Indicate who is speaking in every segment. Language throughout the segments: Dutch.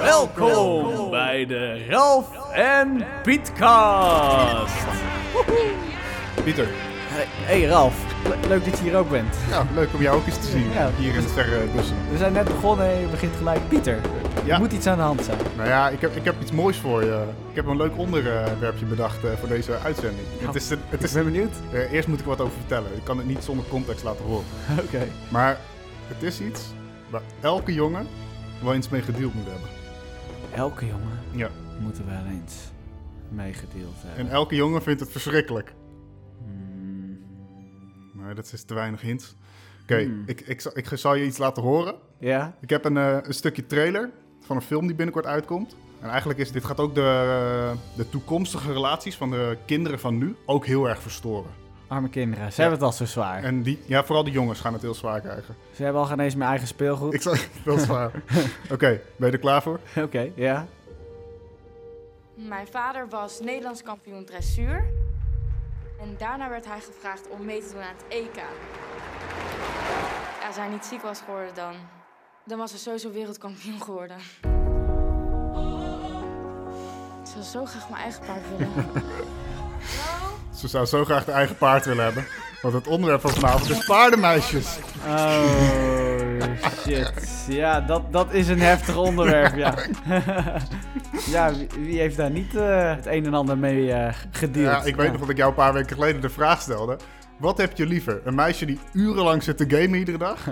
Speaker 1: Welkom bij de Ralf en Pietcast.
Speaker 2: Pieter,
Speaker 1: Hey Ralf, Le- leuk dat je hier ook bent.
Speaker 2: ja, leuk om jou ook eens te zien
Speaker 1: Ja.
Speaker 2: hier in het verre Brussel.
Speaker 1: We zijn net begonnen en je begint gelijk. Pieter, er
Speaker 2: Ja,
Speaker 1: moet iets aan de hand zijn.
Speaker 2: nou ja, ik heb, ik heb iets moois voor je. Ik heb een leuk onderwerpje bedacht eh, voor deze uitzending. Het is, een- het is,
Speaker 1: Ik ben benieuwd.
Speaker 2: eh, eerst moet ik wat over vertellen. Ik kan het niet zonder context laten horen.
Speaker 1: Oké.
Speaker 2: Maar het is iets waar elke jongen wel eens mee gedeeld moet hebben.
Speaker 1: Elke jongen
Speaker 2: Ja.
Speaker 1: moet er wel eens meegedeeld hebben.
Speaker 2: En elke jongen vindt het verschrikkelijk.
Speaker 1: Hmm.
Speaker 2: Maar dat is te weinig hints. Oké,
Speaker 1: Hmm.
Speaker 2: ik, ik, zal- ik zal je iets laten horen.
Speaker 1: Ja?
Speaker 2: Ik heb een, eh, een stukje trailer van een film die binnenkort uitkomt. En eigenlijk is dit gaat ook de, eh, de toekomstige relaties van de kinderen van nu ook heel erg verstoren.
Speaker 1: Arme kinderen, ze
Speaker 2: Ja.
Speaker 1: hebben het al zo zwaar.
Speaker 2: En die, ja, vooral de jongens gaan het heel zwaar krijgen.
Speaker 1: Ze hebben al geen eens meer eigen speelgoed.
Speaker 2: Ik zal heel zwaar. Oké, ben je er klaar voor?
Speaker 1: Oké, ja.
Speaker 3: Mijn vader was Nederlands kampioen dressuur. En daarna werd hij gevraagd om mee te doen aan het EK. Als hij niet ziek was geworden dan, dan was hij sowieso wereldkampioen geworden. Ik zou zo graag mijn eigen paard willen.
Speaker 2: Ze zou zo graag de eigen paard willen hebben. Want het onderwerp van vanavond is paardenmeisjes.
Speaker 1: Oh shit. Ja, dat, dat is een heftig onderwerp, ja. ja, wie, wie heeft daar niet eh, het een en ander mee eh gedeeld?
Speaker 2: Ja, ik weet nog dat ik jou een paar weken geleden de vraag stelde. Wat heb je liever? Een meisje die urenlang zit te gamen iedere dag?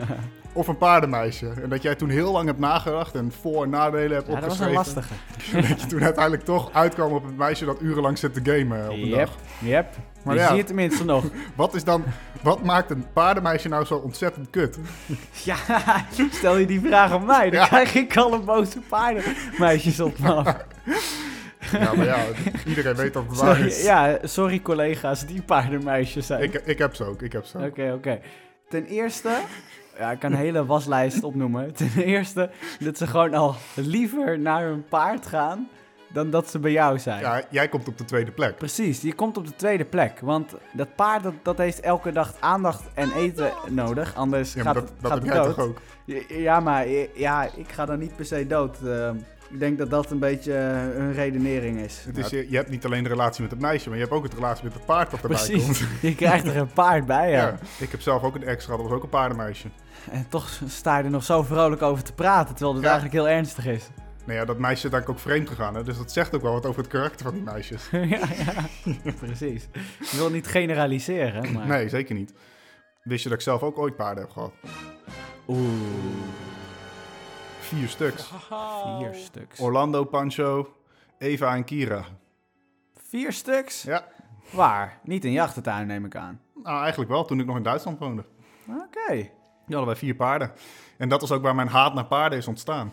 Speaker 2: Of een paardenmeisje? En dat jij toen heel lang hebt nagedacht en voor- en nadelen hebt
Speaker 1: Ja, dat was
Speaker 2: opgeschreven.
Speaker 1: een lastige.
Speaker 2: dat je toen uiteindelijk toch uitkwam op het meisje dat urenlang zit te gamen eh, op een
Speaker 1: Yep,
Speaker 2: dag.
Speaker 1: yep. Maar
Speaker 2: Maar
Speaker 1: je
Speaker 2: ja.
Speaker 1: ziet het tenminste nog.
Speaker 2: Wat, is dan, wat maakt een paardenmeisje nou zo ontzettend kut?
Speaker 1: Ja, stel je die vraag aan mij, dan
Speaker 2: Ja.
Speaker 1: krijg ik al een boze paardenmeisjes op me af.
Speaker 2: Ja, maar ja, iedereen weet dat het waar
Speaker 1: Sorry,
Speaker 2: is.
Speaker 1: ja, sorry collega's die paardenmeisjes zijn.
Speaker 2: Ik, ik heb ze ook, ik heb ze ook.
Speaker 1: Oké, oké. Ten eerste, ja, ik kan een hele waslijst opnoemen. Ten eerste dat ze gewoon al liever naar hun paard gaan dan dat ze bij jou zijn.
Speaker 2: Ja, jij komt op de tweede plek.
Speaker 1: Precies, je komt op de tweede plek. Want dat paard dat, dat heeft elke dag aandacht en eten nodig. Anders
Speaker 2: Ja, maar
Speaker 1: gaat,
Speaker 2: dat,
Speaker 1: het-
Speaker 2: dat
Speaker 1: gaat
Speaker 2: heb
Speaker 1: het
Speaker 2: jij
Speaker 1: dood.
Speaker 2: toch ook?
Speaker 1: Ja, Ja, maar i- ja, ik ga dan niet per se dood. Eh, ik denk dat dat een beetje eh, hun redenering is. Nou,
Speaker 2: Het is, je, je hebt niet alleen de relatie met het meisje, maar je hebt ook het relatie met het paard dat erbij komt.
Speaker 1: Precies, je krijgt er een paard bij.
Speaker 2: Ja.
Speaker 1: Ja.
Speaker 2: ik heb zelf ook een ex gehad, dat was ook een paardenmeisje.
Speaker 1: En toch sta je er nog zo vrolijk over te praten, terwijl het
Speaker 2: Ja.
Speaker 1: eigenlijk heel ernstig is.
Speaker 2: Nou ja, dat meisje is denk ik ook vreemd gegaan, hè? dus dat zegt ook wel wat over het karakter van die meisjes.
Speaker 1: ja, ja, precies. Ik wil niet generaliseren, maar...
Speaker 2: Nee, zeker niet. Wist je dat ik zelf ook ooit paarden heb gehad?
Speaker 1: Oeh,
Speaker 2: Vier stuks.
Speaker 1: vier stuks.
Speaker 2: Orlando, Pancho, Eva en Kira.
Speaker 1: Vier stuks?
Speaker 2: Ja,
Speaker 1: Waar? Niet in je achtertuin, neem ik aan.
Speaker 2: nou eigenlijk wel, toen ik nog in Duitsland woonde.
Speaker 1: Oké.
Speaker 2: Die hadden wij vier paarden. En dat is ook waar mijn haat naar paarden is ontstaan.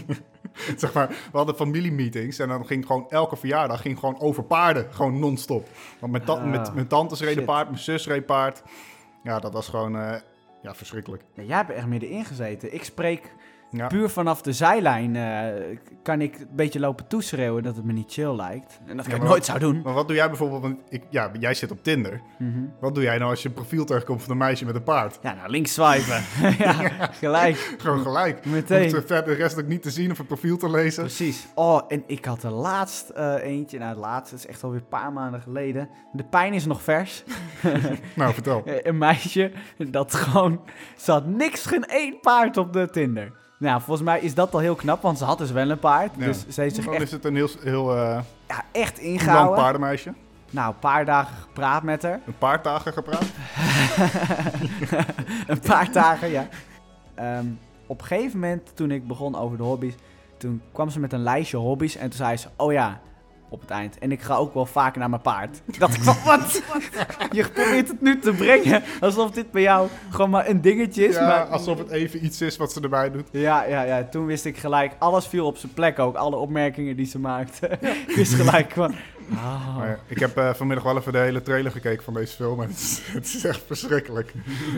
Speaker 2: zeg maar, we hadden familiemeetings en dan ging gewoon elke verjaardag ging gewoon over paarden. Gewoon non-stop. Want mijn, ta-
Speaker 1: Ah,
Speaker 2: met, mijn tantes reden
Speaker 1: shit.
Speaker 2: paard, mijn zus reed paard. Ja, dat was gewoon eh, ja, verschrikkelijk.
Speaker 1: Nou, jij hebt er echt middenin gezeten. Ik spreek
Speaker 2: Ja.
Speaker 1: puur vanaf de zijlijn. eh, kan ik een beetje lopen toeschreeuwen dat het me niet chill lijkt. En dat ik
Speaker 2: maar
Speaker 1: nooit
Speaker 2: wat-
Speaker 1: zou doen.
Speaker 2: Maar wat doe jij bijvoorbeeld, want ik, ja, jij zit op Tinder.
Speaker 1: Mhm.
Speaker 2: Wat doe jij nou als je een profiel tegenkomt van een meisje met een paard?
Speaker 1: Ja, nou, links swipen. ja, gelijk.
Speaker 2: Gewoon gelijk. Om te-
Speaker 1: Meteen.
Speaker 2: verder de rest ook niet te zien of het profiel te lezen.
Speaker 1: Precies. Oh, en ik had er laatst eh, eentje. Nou, het laatste is echt alweer een paar maanden geleden. De pijn is nog vers.
Speaker 2: Nou, vertel.
Speaker 1: Eh, een meisje dat gewoon... Ze had niks, geen één paard op de Tinder. Nou, volgens mij is dat al heel knap, want ze had dus wel een paard.
Speaker 2: Ja.
Speaker 1: Dus ze heeft zich
Speaker 2: Dan
Speaker 1: echt,
Speaker 2: is het een heel, heel eh,
Speaker 1: ja, echt
Speaker 2: lang
Speaker 1: ingehouden.
Speaker 2: paardenmeisje.
Speaker 1: Nou, een paar dagen gepraat met haar.
Speaker 2: Een paarddagen gepraat.
Speaker 1: een paar dagen, ja. Ehm, op een gegeven moment, toen ik begon over de hobby's, toen kwam ze met een lijstje hobby's en toen zei ze, oh ja, op het eind. En ik ga ook wel vaker naar mijn paard. Toen dacht ik van, wat? Je probeert het nu te brengen, alsof dit bij jou gewoon maar een dingetje is.
Speaker 2: ja,
Speaker 1: maar...
Speaker 2: alsof het even iets is wat ze erbij doet.
Speaker 1: Ja, ja, ja, toen wist ik gelijk, alles viel op zijn plek ook, alle opmerkingen die ze maakte. Ik wist gelijk van, ah,
Speaker 2: Maar ja, ik heb eh, vanmiddag wel even de hele trailer gekeken van deze film. En het, is, het is echt verschrikkelijk.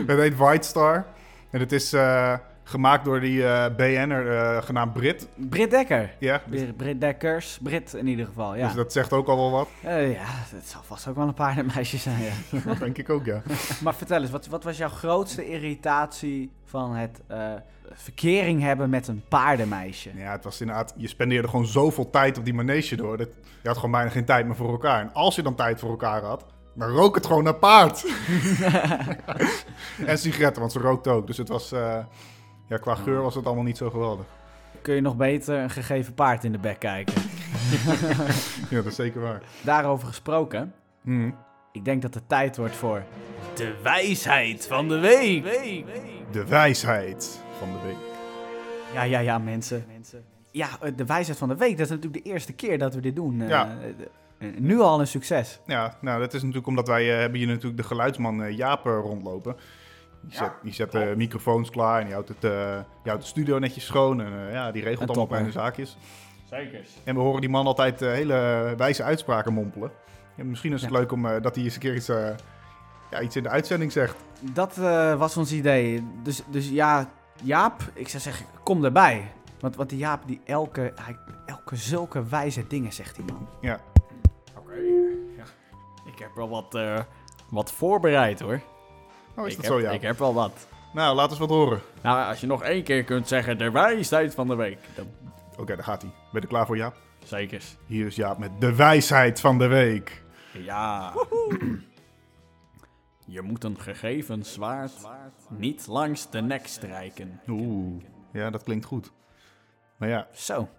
Speaker 2: het heet White Star. En het is eh, Gemaakt door die eh, BN'er eh, genaamd Brit.
Speaker 1: Britt Dekker.
Speaker 2: Ja, dus,
Speaker 1: Brit- Britt Dekkers, Brit in ieder geval, ja.
Speaker 2: dus dat zegt ook al wel wat.
Speaker 1: Eh, ja, dat zal vast ook wel een paardenmeisje zijn, ja.
Speaker 2: Dat denk ik ook, ja.
Speaker 1: maar vertel eens, wat, wat was jouw grootste irritatie van het eh, verkering hebben met een paardenmeisje?
Speaker 2: Ja, het was inderdaad, je spendeerde gewoon zoveel tijd op die manege door. Dat, je had gewoon bijna geen tijd meer voor elkaar. En als je dan tijd voor elkaar had, dan rook het gewoon naar paard. en sigaretten, want ze rookte ook. Dus het was, eh, ja, qua geur was het allemaal niet zo geweldig.
Speaker 1: Kun je nog beter een gegeven paard in de bek kijken?
Speaker 2: Ja, dat is zeker waar.
Speaker 1: Daarover gesproken,
Speaker 2: Hm.
Speaker 1: ik denk dat het tijd wordt voor... De wijsheid van de week!
Speaker 2: De wijsheid van de week.
Speaker 1: Ja, ja, ja, mensen. Ja, eh, de wijsheid van de week, dat is natuurlijk de eerste keer dat we dit doen. Eh,
Speaker 2: Ja.
Speaker 1: eh, eh, nu al een succes.
Speaker 2: Ja, nou, dat is natuurlijk omdat wij eh, hebben hier natuurlijk de geluidsman eh, Jaap eh, rondlopen. Die zet, die zet de microfoons klaar en die houdt, het, eh, die houdt de studio netjes schoon. En eh, ja, die regelt
Speaker 1: Een
Speaker 2: allemaal
Speaker 1: topper.
Speaker 2: kleine zaakjes. Zeker. En we horen die man altijd eh, hele wijze uitspraken mompelen. En misschien is het leuk om, eh, dat hij eens een keer iets, eh, ja, iets in de uitzending zegt.
Speaker 1: Dat eh, was ons idee. Dus, dus ja, Jaap, ik zou zeggen, kom erbij. Want, want die Jaap, die elke, hij, elke zulke wijze dingen zegt die man.
Speaker 2: Ja.
Speaker 4: Ik heb wel wat, eh, wat voorbereid hoor.
Speaker 2: Oh, is
Speaker 4: ik,
Speaker 2: dat
Speaker 4: heb,
Speaker 2: zo, Jaap?
Speaker 4: ik heb wel wat.
Speaker 2: Nou, laat eens wat horen.
Speaker 4: Nou, als je nog één keer kunt zeggen de wijsheid van de week. Dan
Speaker 2: Oké, daar gaat hij. Ben je er klaar voor, Jaap?
Speaker 4: zeker.
Speaker 2: Hier is Jaap met de wijsheid van de week.
Speaker 4: Ja. je moet een gegeven zwaard niet langs de nek strijken.
Speaker 2: Oeh. Ja, dat klinkt goed. Maar ja,
Speaker 1: Zo.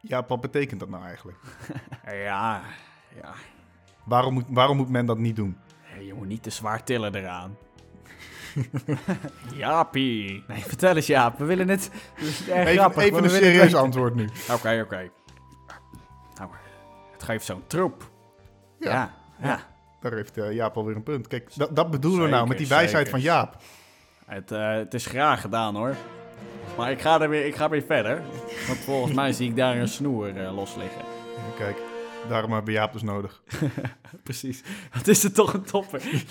Speaker 2: Jaap, wat betekent dat nou eigenlijk?
Speaker 4: Ja, ja.
Speaker 2: Waarom moet, waarom moet men dat niet doen?
Speaker 4: Je moet niet te zwaar tillen eraan. Jaapie.
Speaker 1: Nee, vertel eens Jaap, we willen het... Het is erg
Speaker 2: Even,
Speaker 1: grappig,
Speaker 2: even
Speaker 1: maar
Speaker 2: een
Speaker 1: we willen het
Speaker 2: serieus
Speaker 1: weten.
Speaker 2: antwoord nu.
Speaker 4: Oké, oké. Nou, het geeft zo'n troep.
Speaker 2: Ja.
Speaker 1: Ja, ja.
Speaker 2: Daar heeft eh, Jaap alweer een punt. Kijk, dat, dat bedoelen we
Speaker 4: Zeker,
Speaker 2: nou met die wijsheid
Speaker 4: zeker.
Speaker 2: van Jaap.
Speaker 4: Het, eh, het is graag gedaan hoor. Maar ik ga, er weer, ik ga weer verder. Want volgens mij zie ik daar een snoer eh, los liggen.
Speaker 2: Ja, Kijk, daarom hebben we Jaap dus nodig.
Speaker 4: Precies. Wat is het toch een topper?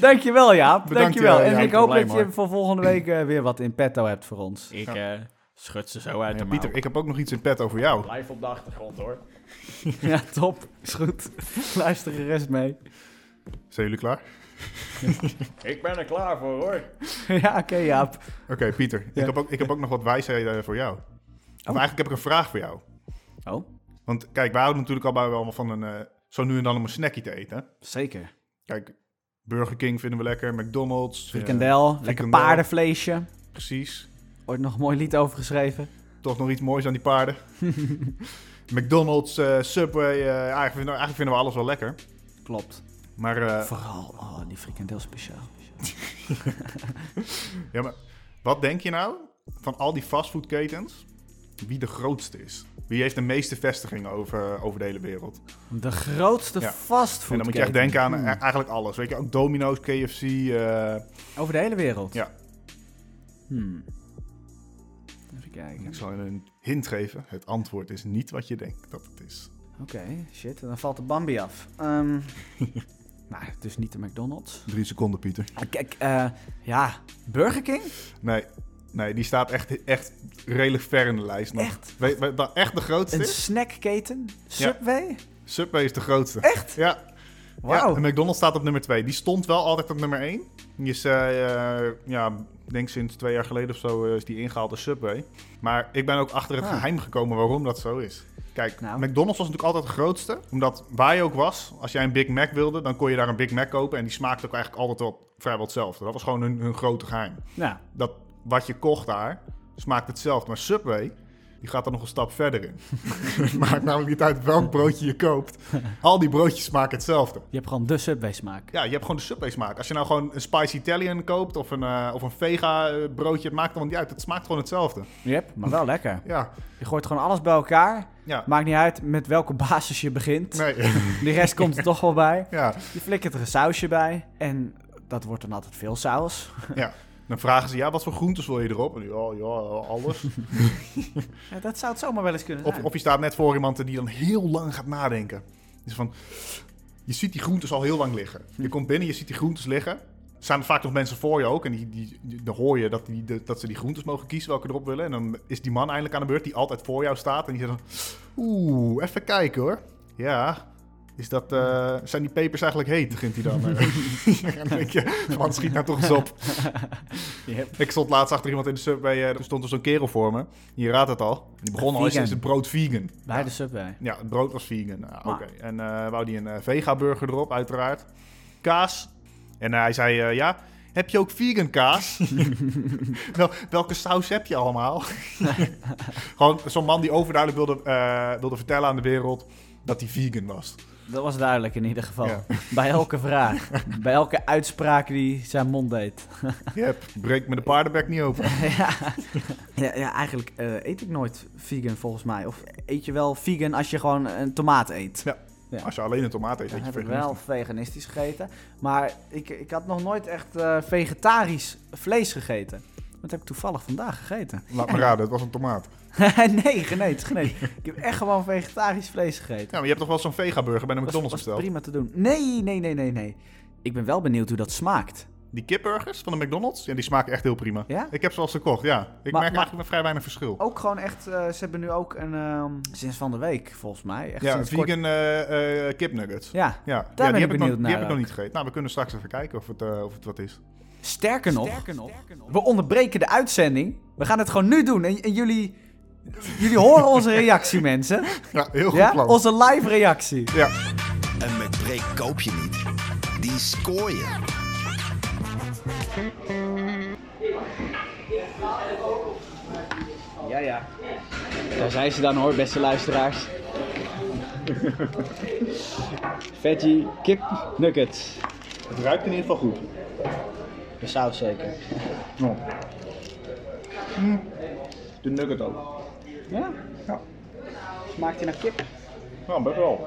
Speaker 1: Dankjewel Jaap,
Speaker 2: Bedankt,
Speaker 1: dankjewel.
Speaker 2: eh,
Speaker 1: En
Speaker 2: Jaap,
Speaker 1: ik hoop
Speaker 4: probleem,
Speaker 1: dat je
Speaker 4: hoor.
Speaker 1: voor volgende week eh, weer wat in petto hebt voor ons.
Speaker 4: ik eh, schud ze zo uit de
Speaker 2: En
Speaker 4: mouw.
Speaker 2: Pieter, ik heb ook nog iets in pet over jou.
Speaker 4: Blijf op de achtergrond hoor.
Speaker 1: Ja, top. Is goed. Luister de rest mee.
Speaker 2: Zijn jullie klaar?
Speaker 4: Ik ben er klaar voor hoor.
Speaker 1: ja, oké Jaap.
Speaker 2: Oké, Pieter,
Speaker 1: Ja.
Speaker 2: ik, heb ook, ik heb ook nog wat wijsheden eh, voor jou. Maar eigenlijk heb ik een vraag voor jou.
Speaker 1: Oh,
Speaker 2: Want kijk, wij houden natuurlijk al bij allemaal van een, eh, zo nu en dan om een snackie te eten.
Speaker 1: zeker.
Speaker 2: Kijk, Burger King vinden we lekker, McDonald's. eh,
Speaker 1: Frikandel, lekker
Speaker 2: frikandel.
Speaker 1: paardenvleesje.
Speaker 2: precies.
Speaker 1: Ooit nog een mooi lied over geschreven.
Speaker 2: toch nog iets moois aan die paarden. McDonald's, eh, Subway, eh, eigenlijk, vinden, eigenlijk vinden we alles wel lekker.
Speaker 1: Klopt.
Speaker 2: Maar, eh,
Speaker 1: Vooral, oh, die frikandel speciaal.
Speaker 2: ja, maar wat denk je nou van al die fastfoodketens? Wie de grootste is? Wie heeft de meeste vestigingen over, over de hele wereld?
Speaker 1: De grootste
Speaker 2: Ja.
Speaker 1: fastfood. Hmm.
Speaker 2: en dan moet je echt denken aan eh, eigenlijk alles. Weet je, ook Domino's, KFC. eh,
Speaker 1: Over de hele wereld.
Speaker 2: ja,
Speaker 1: Hmm. Even kijken.
Speaker 2: ik zal je een hint geven. Het antwoord is niet wat je denkt dat het is.
Speaker 1: Oké, shit. Dan valt de Bambi af. Ehm nou, het is niet de McDonald's.
Speaker 2: Drie seconden, Pieter.
Speaker 1: Ah, Kijk, eh, ja, Burger King?
Speaker 2: Nee, nee die staat echt, echt redelijk ver in de lijst. nog.
Speaker 1: Echt?
Speaker 2: Weet, weet, dat echt de grootste
Speaker 1: Een
Speaker 2: is?
Speaker 1: snackketen? Subway?
Speaker 2: Subway is de grootste.
Speaker 1: Echt?
Speaker 2: Ja.
Speaker 1: Wauw.
Speaker 2: Ja, en McDonald's staat op nummer 2. Die stond wel altijd op nummer 1. Die is, eh, eh, ja, ik denk sinds twee jaar geleden of zo eh, is die ingehaald door Subway. Maar ik ben ook achter het
Speaker 1: Ah.
Speaker 2: geheim gekomen waarom dat zo is. Kijk,
Speaker 1: Nou.
Speaker 2: McDonald's was natuurlijk altijd de grootste. Omdat waar je ook was, als jij een Big Mac wilde, dan kon je daar een Big Mac kopen. En die smaakte ook eigenlijk altijd wel vrijwel hetzelfde. Dat was gewoon hun, hun grote geheim.
Speaker 1: Nou,
Speaker 2: Dat wat je kocht daar, smaakt hetzelfde. Maar Subway, die gaat er nog een stap verder in. het maakt namelijk niet uit welk broodje je koopt. Al die broodjes smaken hetzelfde.
Speaker 1: je hebt gewoon de Subway smaak.
Speaker 2: Ja, je hebt gewoon de Subway smaak. Als je nou gewoon een Spicy Italian koopt of een, eh, of een vega eh, broodje, het maakt allemaal niet uit. Het smaakt gewoon hetzelfde.
Speaker 1: Yep, maar wel lekker.
Speaker 2: Ja,
Speaker 1: Je gooit gewoon alles bij elkaar.
Speaker 2: ja.
Speaker 1: Maakt niet uit met welke basis je begint.
Speaker 2: Nee,
Speaker 1: De rest komt er toch wel bij.
Speaker 2: ja,
Speaker 1: Je flikkert er een sausje bij. En dat wordt dan altijd veel saus.
Speaker 2: ja. Dan vragen ze, ja, wat voor groentes wil je erop? En, ja, ja, alles.
Speaker 1: Ja, dat zou het zomaar wel eens kunnen
Speaker 2: Of,
Speaker 1: zijn.
Speaker 2: of je staat net voor iemand die dan heel lang gaat nadenken. Dus van, je ziet die groentes al heel lang liggen. Je komt binnen, je ziet die groentes liggen. staan er vaak nog mensen voor je ook. En die, die, die- dan hoor je dat, die, de- dat ze die groentes mogen kiezen welke erop willen. En dan is die man eindelijk aan de beurt die altijd voor jou staat. En die zegt dan... Oeh, even kijken hoor. Ja, is dat, eh, zijn die pepers eigenlijk heet? Begint hij dan. Eh, en dan denk je, man, schiet nou toch eens op.
Speaker 4: Yep.
Speaker 2: Ik stond laatst achter iemand in de subway. eh, er stond er zo'n kerel voor me. Je raadt het al. Die begon al eens
Speaker 1: Vegan.
Speaker 2: is het brood vegan.
Speaker 1: Bij de Subway.
Speaker 2: Ja, het brood was vegan. Nou, Oké.
Speaker 1: Maar-
Speaker 2: En eh, wou die een eh, vega-burger erop, uiteraard. Kaas. En hij zei, eh, ja, heb je ook vegan kaas? Wel, welke saus heb je allemaal? Gewoon zo'n man die overduidelijk wilde, eh, wilde vertellen aan de wereld dat hij vegan was.
Speaker 1: Dat was duidelijk in ieder geval.
Speaker 2: Ja.
Speaker 1: Bij elke vraag. bij elke uitspraak die zijn mond deed.
Speaker 2: Yep, breek me de paardenbek niet open.
Speaker 1: ja. Ja, ja, eigenlijk eh, eet ik nooit vegan volgens mij. Of eet je wel vegan als je gewoon een tomaat eet? Ja.
Speaker 2: Als je alleen een tomaat eet,
Speaker 1: Dan
Speaker 2: eet je
Speaker 1: heb ik
Speaker 2: veganist.
Speaker 1: wel veganistisch gegeten. Maar ik, ik had nog nooit echt eh, vegetarisch vlees gegeten. Dat heb ik toevallig vandaag gegeten.
Speaker 2: Laat me raden, het was een tomaat.
Speaker 1: nee, geneet, geneet. Ik heb echt gewoon vegetarisch vlees gegeten.
Speaker 2: Ja, maar je hebt toch wel zo'n vega-burger bij de
Speaker 1: Dat
Speaker 2: McDonald's
Speaker 1: was
Speaker 2: besteld?
Speaker 1: prima te doen. Nee, nee, nee, nee, nee. Ik ben wel benieuwd hoe dat smaakt.
Speaker 2: Die kipburgers van de McDonald's, ja, die smaken echt heel prima.
Speaker 1: Ja?
Speaker 2: Ik heb ze al eens gekocht, ja. Ik
Speaker 1: Maar-
Speaker 2: merk
Speaker 1: maar-
Speaker 2: eigenlijk vrij weinig verschil.
Speaker 1: Ook gewoon echt, eh, ze hebben nu ook een, ehm, sinds van de week volgens mij. Echt
Speaker 2: Ja,
Speaker 1: sinds
Speaker 2: vegan
Speaker 1: kort.
Speaker 2: eh, eh, kipnuggets.
Speaker 1: Ja,
Speaker 2: Ja, ja,
Speaker 1: ben
Speaker 2: die,
Speaker 1: ik
Speaker 2: heb ik nog,
Speaker 1: benieuwd
Speaker 2: die heb
Speaker 1: naar
Speaker 2: ik nog
Speaker 1: ook.
Speaker 2: niet gegeten. Nou, we kunnen straks even kijken of het, eh, of het wat is.
Speaker 1: sterker nog, we onderbreken de uitzending. We gaan het gewoon nu doen en, en jullie, jullie horen onze reactie mensen.
Speaker 2: Ja, heel goed
Speaker 1: Ja,
Speaker 2: plan.
Speaker 1: onze live reactie.
Speaker 2: Ja,
Speaker 5: Een McBreak koop je niet. Die scoor je.
Speaker 1: Ja, ja. Daar zijn ze dan hoor, beste luisteraars. Veggie kip nuggets.
Speaker 2: het ruikt in ieder geval goed.
Speaker 1: De saus zeker.
Speaker 2: De nugget ook.
Speaker 1: Ja?
Speaker 2: Ja.
Speaker 1: Smaakt hij naar kip?
Speaker 2: Nou, best wel.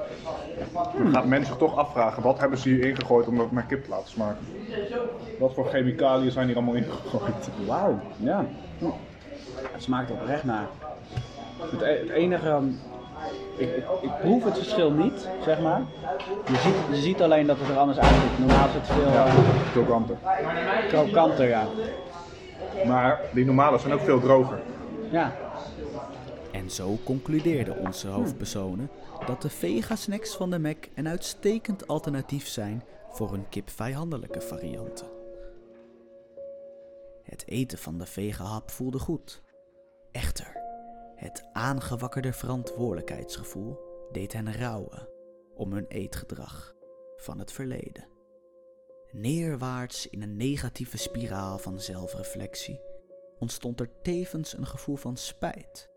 Speaker 2: Dan gaat mensen zich toch afvragen, wat hebben ze hier ingegooid om dat naar kip te laten smaken? Wat voor chemicaliën zijn hier allemaal ingegooid?
Speaker 1: Wauw, ja. Oh. Het smaakt oprecht naar. Het, e- het enige... ehm, Ik, ik, ik proef het verschil niet, zeg maar. Je ziet, je ziet alleen dat het er anders uitziet. Normaal is het veel eh,
Speaker 2: Krokanten.
Speaker 1: krokanter, ja.
Speaker 2: Maar die normale zijn ook veel droger.
Speaker 6: En zo concludeerden onze hoofdpersonen dat de vega-snacks van de Mac een uitstekend alternatief zijn voor hun kipvijandelijke varianten. Het eten van de vega-hap voelde goed. Echter, het aangewakkerde verantwoordelijkheidsgevoel deed hen rouwen om hun eetgedrag van het verleden. Neerwaarts in een negatieve spiraal van zelfreflectie ontstond er tevens een gevoel van spijt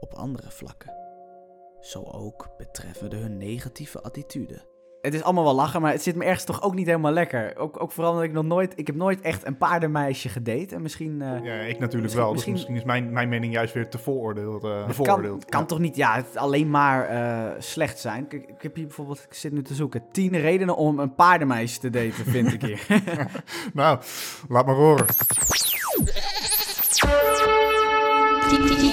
Speaker 6: op andere vlakken. Zo ook betreffende hun negatieve attitude.
Speaker 1: Het is allemaal wel lachen, maar het zit me ergens toch ook niet helemaal lekker. Ook, ook vooral omdat ik nog nooit... Ik heb nooit echt een paardenmeisje gedate. En misschien... eh,
Speaker 2: Ja, ik natuurlijk
Speaker 1: Misschien-
Speaker 2: wel.
Speaker 1: misschien-
Speaker 2: Dus misschien is mijn, mijn mening juist weer te vooroordeeld. eh
Speaker 1: Het kan, kan toch niet ja, het alleen maar eh, slecht zijn? Kijk, ik heb hier bijvoorbeeld, ik zit nu te zoeken, tien redenen om een paardenmeisje te daten, vind ik hier.
Speaker 2: Nou, laat maar horen.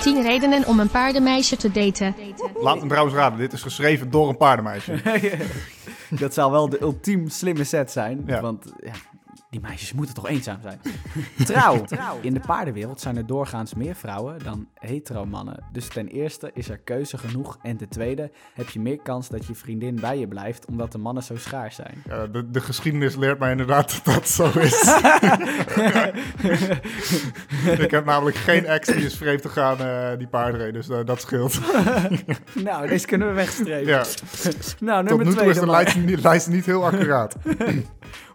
Speaker 7: 10 redenen om een paardenmeisje te daten.
Speaker 2: Laat me trouwens raden, dit is geschreven door een paardenmeisje.
Speaker 1: dat zou wel de ultiem slimme set zijn,
Speaker 2: Ja.
Speaker 1: want ja, die meisjes moeten toch eenzaam zijn? Trouw. In de paardenwereld zijn er doorgaans meer vrouwen dan hetero mannen. Dus ten eerste is er keuze genoeg en ten tweede heb je meer kans dat je vriendin bij je blijft omdat de mannen zo schaars zijn.
Speaker 2: Ja, de, de geschiedenis leert mij inderdaad dat dat zo is. ik heb namelijk geen ex die is vreemd te gaan eh, die paarden reed, dus eh, dat scheelt.
Speaker 1: Nou, deze kunnen we wegstrepen. Nou,
Speaker 2: ja, tot
Speaker 1: nummer
Speaker 2: nu toe
Speaker 1: twee
Speaker 2: is
Speaker 1: dan
Speaker 2: de
Speaker 1: maar.
Speaker 2: lijst, niet- lijst niet heel accuraat.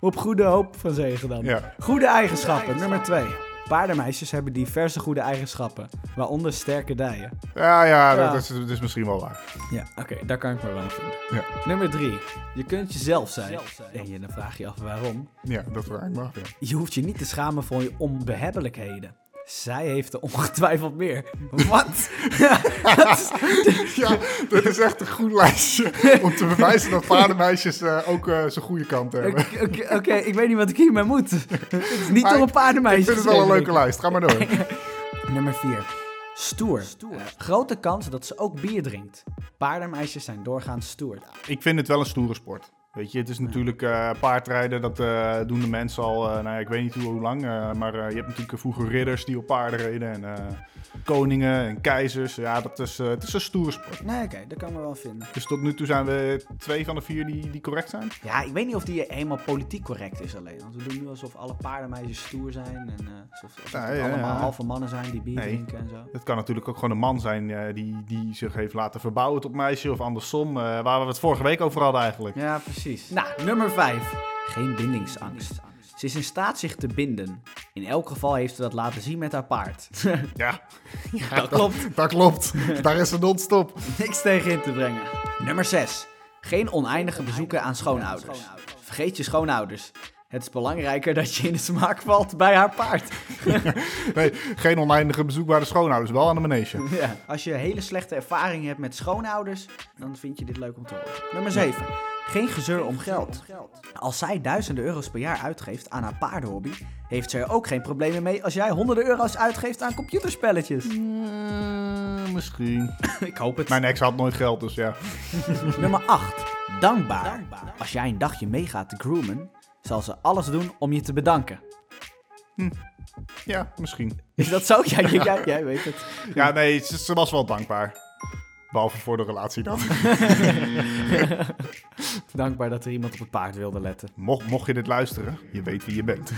Speaker 1: Op goede hoop van zegen dan.
Speaker 2: Ja.
Speaker 1: Goede eigenschappen, nummer 2. Paardenmeisjes hebben diverse goede eigenschappen, waaronder sterke dijen.
Speaker 2: Ja, ja, dat
Speaker 1: Ja.
Speaker 2: is, dat is misschien wel waar.
Speaker 1: Ja, oké, daar kan ik me wel aan vinden.
Speaker 2: Ja.
Speaker 1: Nummer 3. Je kunt jezelf zijn. En je, dan vraag je je af waarom.
Speaker 2: Ja, dat is waar. Ik mag, ja.
Speaker 1: Je hoeft je niet te schamen voor je onbehebbelijkheden. Zij heeft er ongetwijfeld meer. Wat?
Speaker 2: ja, dit is echt een goed lijstje om te bewijzen dat paardenmeisjes eh, ook eh, zijn goede kant hebben.
Speaker 1: Oké, oké, oké, ik weet niet wat ik hiermee moet. Het is niet
Speaker 2: Maar
Speaker 1: door een paardenmeisje.
Speaker 2: Ik vind het wel een
Speaker 1: geschreven,
Speaker 2: leuke lijst. Ga maar door.
Speaker 1: Nummer 4. Stoer. Eh, grote kans dat ze ook bier drinkt. Paardenmeisjes zijn doorgaans stoer.
Speaker 2: Ik vind het wel een stoere sport. Weet je, het is natuurlijk eh, paardrijden, dat eh, doen de mensen al, eh, nou ja, ik weet niet hoe, hoe lang. eh, maar eh, je hebt natuurlijk vroeger ridders die op paarden reden en eh, koningen en keizers. Ja, dat is, eh, het is een stoere sport.
Speaker 1: Nee, Nou, oké, dat kan me wel vinden.
Speaker 2: Dus tot nu toe zijn we twee van de vier die, die correct zijn.
Speaker 1: Ja, ik weet niet of die helemaal politiek correct is alleen. Want we doen nu alsof alle paardenmeisjes stoer zijn. En eh, alsof, alsof
Speaker 2: Ja,
Speaker 1: het
Speaker 2: ja,
Speaker 1: allemaal
Speaker 2: ja.
Speaker 1: halve mannen zijn die bier
Speaker 2: Nee.
Speaker 1: drinken en zo.
Speaker 2: Het kan natuurlijk ook gewoon een man zijn eh, die, die zich heeft laten verbouwen tot meisje of andersom. eh, waar we het vorige week over hadden eigenlijk.
Speaker 1: Ja, precies. Nou, nummer 5. Geen bindingsangst. Ze is in staat zich te binden. In elk geval heeft ze dat laten zien met haar paard.
Speaker 2: Ja,
Speaker 1: dat klopt.
Speaker 2: dat klopt. Daar is een non-stop.
Speaker 1: Niks tegen in te brengen. Nummer 6. Geen oneindige bezoeken aan schoonouders. Vergeet je schoonouders. Het is belangrijker dat je in de smaak valt bij haar paard.
Speaker 2: Nee, geen oneindige bezoekbare schoonouders, wel aan de manege.
Speaker 1: Ja. Als je hele slechte ervaringen hebt met schoonouders, dan vind je dit leuk om te horen. Nummer 7. Geen gezeur om geld. Als zij duizenden euro's per jaar uitgeeft aan haar paardenhobby, heeft ze er ook geen problemen mee als jij honderden euro's uitgeeft aan computerspelletjes. Eh,
Speaker 2: misschien.
Speaker 1: Ik hoop het.
Speaker 2: Mijn ex had nooit geld, dus ja.
Speaker 1: Nummer 8. Dankbaar. Als jij een dagje meegaat te groomen, zal ze alles doen om je te bedanken.
Speaker 2: Ja, misschien.
Speaker 1: Is dat zo? Ja, jij, jij, jij weet het.
Speaker 2: Ja, nee, ze, ze was wel dankbaar. Behalve voor de relatie dan.
Speaker 1: Dankbaar dat er iemand op het paard wilde letten.
Speaker 2: Mocht, mocht je dit luisteren, je weet wie je bent.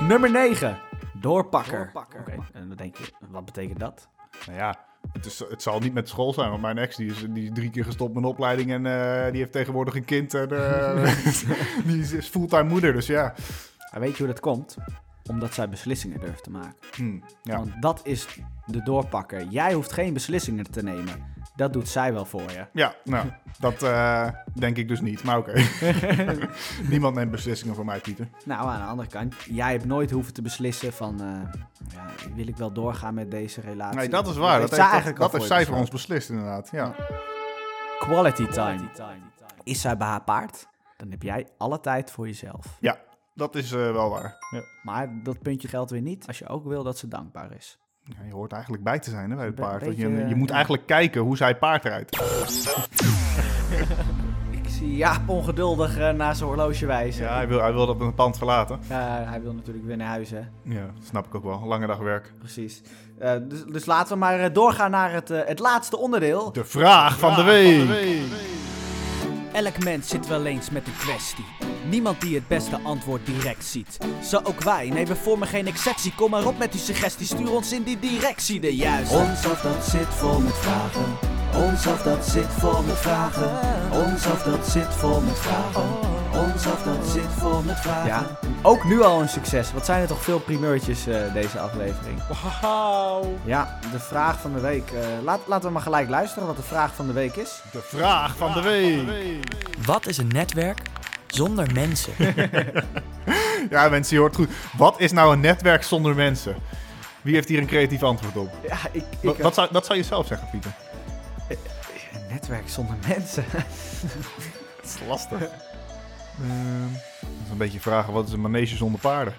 Speaker 1: Nummer 9. Doorpakker. Oké, en wat denk je, wat betekent dat?
Speaker 2: Nou ja, het, is, het zal niet met school zijn, want mijn ex die is, die is drie keer gestopt met een opleiding en eh, die heeft tegenwoordig een kind en eh, die is, is fulltime moeder, dus ja.
Speaker 1: Maar weet je hoe dat komt? Omdat zij beslissingen durft te maken.
Speaker 2: Hm, ja.
Speaker 1: Want dat is de doorpakker. Jij hoeft geen beslissingen te nemen. Dat doet zij wel voor je.
Speaker 2: Ja, nou, dat eh, denk ik dus niet, maar oké. Niemand neemt beslissingen voor mij, Pieter.
Speaker 1: Nou, aan de andere kant, jij hebt nooit hoeven te beslissen van... eh, ja, wil ik wel doorgaan met deze relatie?
Speaker 2: Nee, dat is
Speaker 1: heeft zij
Speaker 2: waar. Dat, heeft, dat,
Speaker 1: eigenlijk al
Speaker 2: dat heeft zij voor
Speaker 1: je
Speaker 2: ons beslist, inderdaad. Ja.
Speaker 1: Quality time. Is zij bij haar paard, dan heb jij alle tijd voor jezelf.
Speaker 2: Ja, dat is eh, wel waar. Ja.
Speaker 1: Maar dat puntje geldt weer niet als je ook wil dat ze dankbaar is.
Speaker 2: Ja, je hoort eigenlijk bij te zijn hè, bij het
Speaker 1: Be-
Speaker 2: paard. Dat
Speaker 1: beetje,
Speaker 2: je, je
Speaker 1: eh,
Speaker 2: moet
Speaker 1: ja.
Speaker 2: eigenlijk kijken hoe zij paard rijdt.
Speaker 1: Ik zie Jaap ongeduldig eh, naar zijn horloge wijzen.
Speaker 2: Ja, hij wil, hij wil dat een pand verlaten.
Speaker 1: Eh, hij wil natuurlijk weer naar huis, hè.
Speaker 2: Ja, dat snap ik ook wel. Lange dag werk.
Speaker 1: Precies. Eh, dus, dus laten we maar eh, doorgaan naar het, eh, het laatste onderdeel.
Speaker 2: De vraag van de week.
Speaker 6: Elk mens zit wel eens met een kwestie. Niemand die het beste antwoord direct ziet. Zo ook wij, nee we vormen geen exceptie. Kom maar op met uw suggestie, stuur ons in die directie de juiste. Ons af dat zit vol met vragen. Ons af dat zit vol met vragen. Ons af dat zit vol met vragen. Ons af dat zit vol met vragen.
Speaker 1: Ja, ook nu al een succes. Wat zijn er toch veel primeurtjes eh, deze aflevering.
Speaker 2: Wauw.
Speaker 1: Ja, de vraag van de week. Eh, laat, laten we maar gelijk luisteren wat de vraag van de week is.
Speaker 2: De vraag van de week.
Speaker 8: Wat is een netwerk zonder mensen?
Speaker 2: Ja, mensen, je hoort goed. Wat is nou een netwerk zonder mensen? Wie heeft hier een creatief antwoord op?
Speaker 1: Ja, ik... ik eh,
Speaker 2: Wat, wat zou, dat zou je zelf zeggen, Pieter.
Speaker 1: Een netwerk zonder mensen.
Speaker 2: Dat is lastig. Ehm, dat is een beetje vragen, wat is een manege zonder paarden?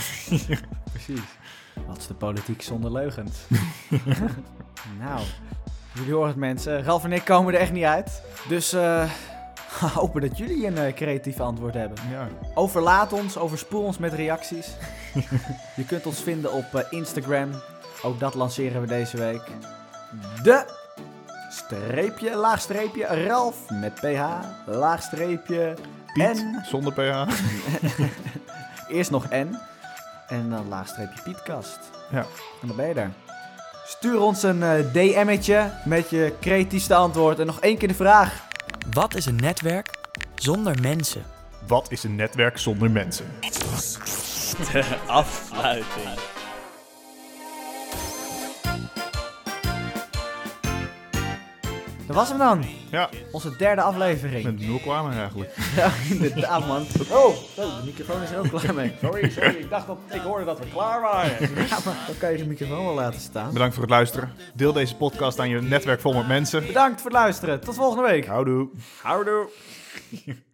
Speaker 1: Precies. Wat is de politiek zonder leugens? nou, jullie horen het mensen. Ralf en ik komen er echt niet uit. Dus eh, hopen dat jullie een eh, creatief antwoord hebben.
Speaker 2: Ja.
Speaker 1: Overlaat ons, overspoel ons met reacties. Je kunt ons vinden op eh, Instagram. Ook dat lanceren we deze week. De streepje, laagstreepje, Ralf met ph, laagstreepje, en.
Speaker 2: Zonder PH.
Speaker 1: Eerst nog N. En dan laagstreepje Pietkast.
Speaker 2: Ja.
Speaker 1: En dan ben je er. Stuur ons een eh, DM'tje met je creatiefste antwoord. En nog één keer de vraag.
Speaker 8: Wat is een netwerk zonder mensen?
Speaker 2: Wat is een netwerk zonder mensen?
Speaker 9: Afsluiting.
Speaker 1: Dat was hem dan.
Speaker 2: Ja,
Speaker 1: Onze derde aflevering.
Speaker 2: met nul kwamen eigenlijk.
Speaker 1: Ja, inderdaad man. Oh, oh, de microfoon is er ook klaar mee. Sorry, sorry. Ik dacht dat ik hoorde dat we klaar waren. Ja, maar dan kan je de microfoon wel laten staan.
Speaker 2: Bedankt voor het luisteren. Deel deze podcast aan je netwerk vol met mensen.
Speaker 1: Bedankt voor het luisteren. Tot volgende week.
Speaker 2: Houdoe.
Speaker 4: Houdoe.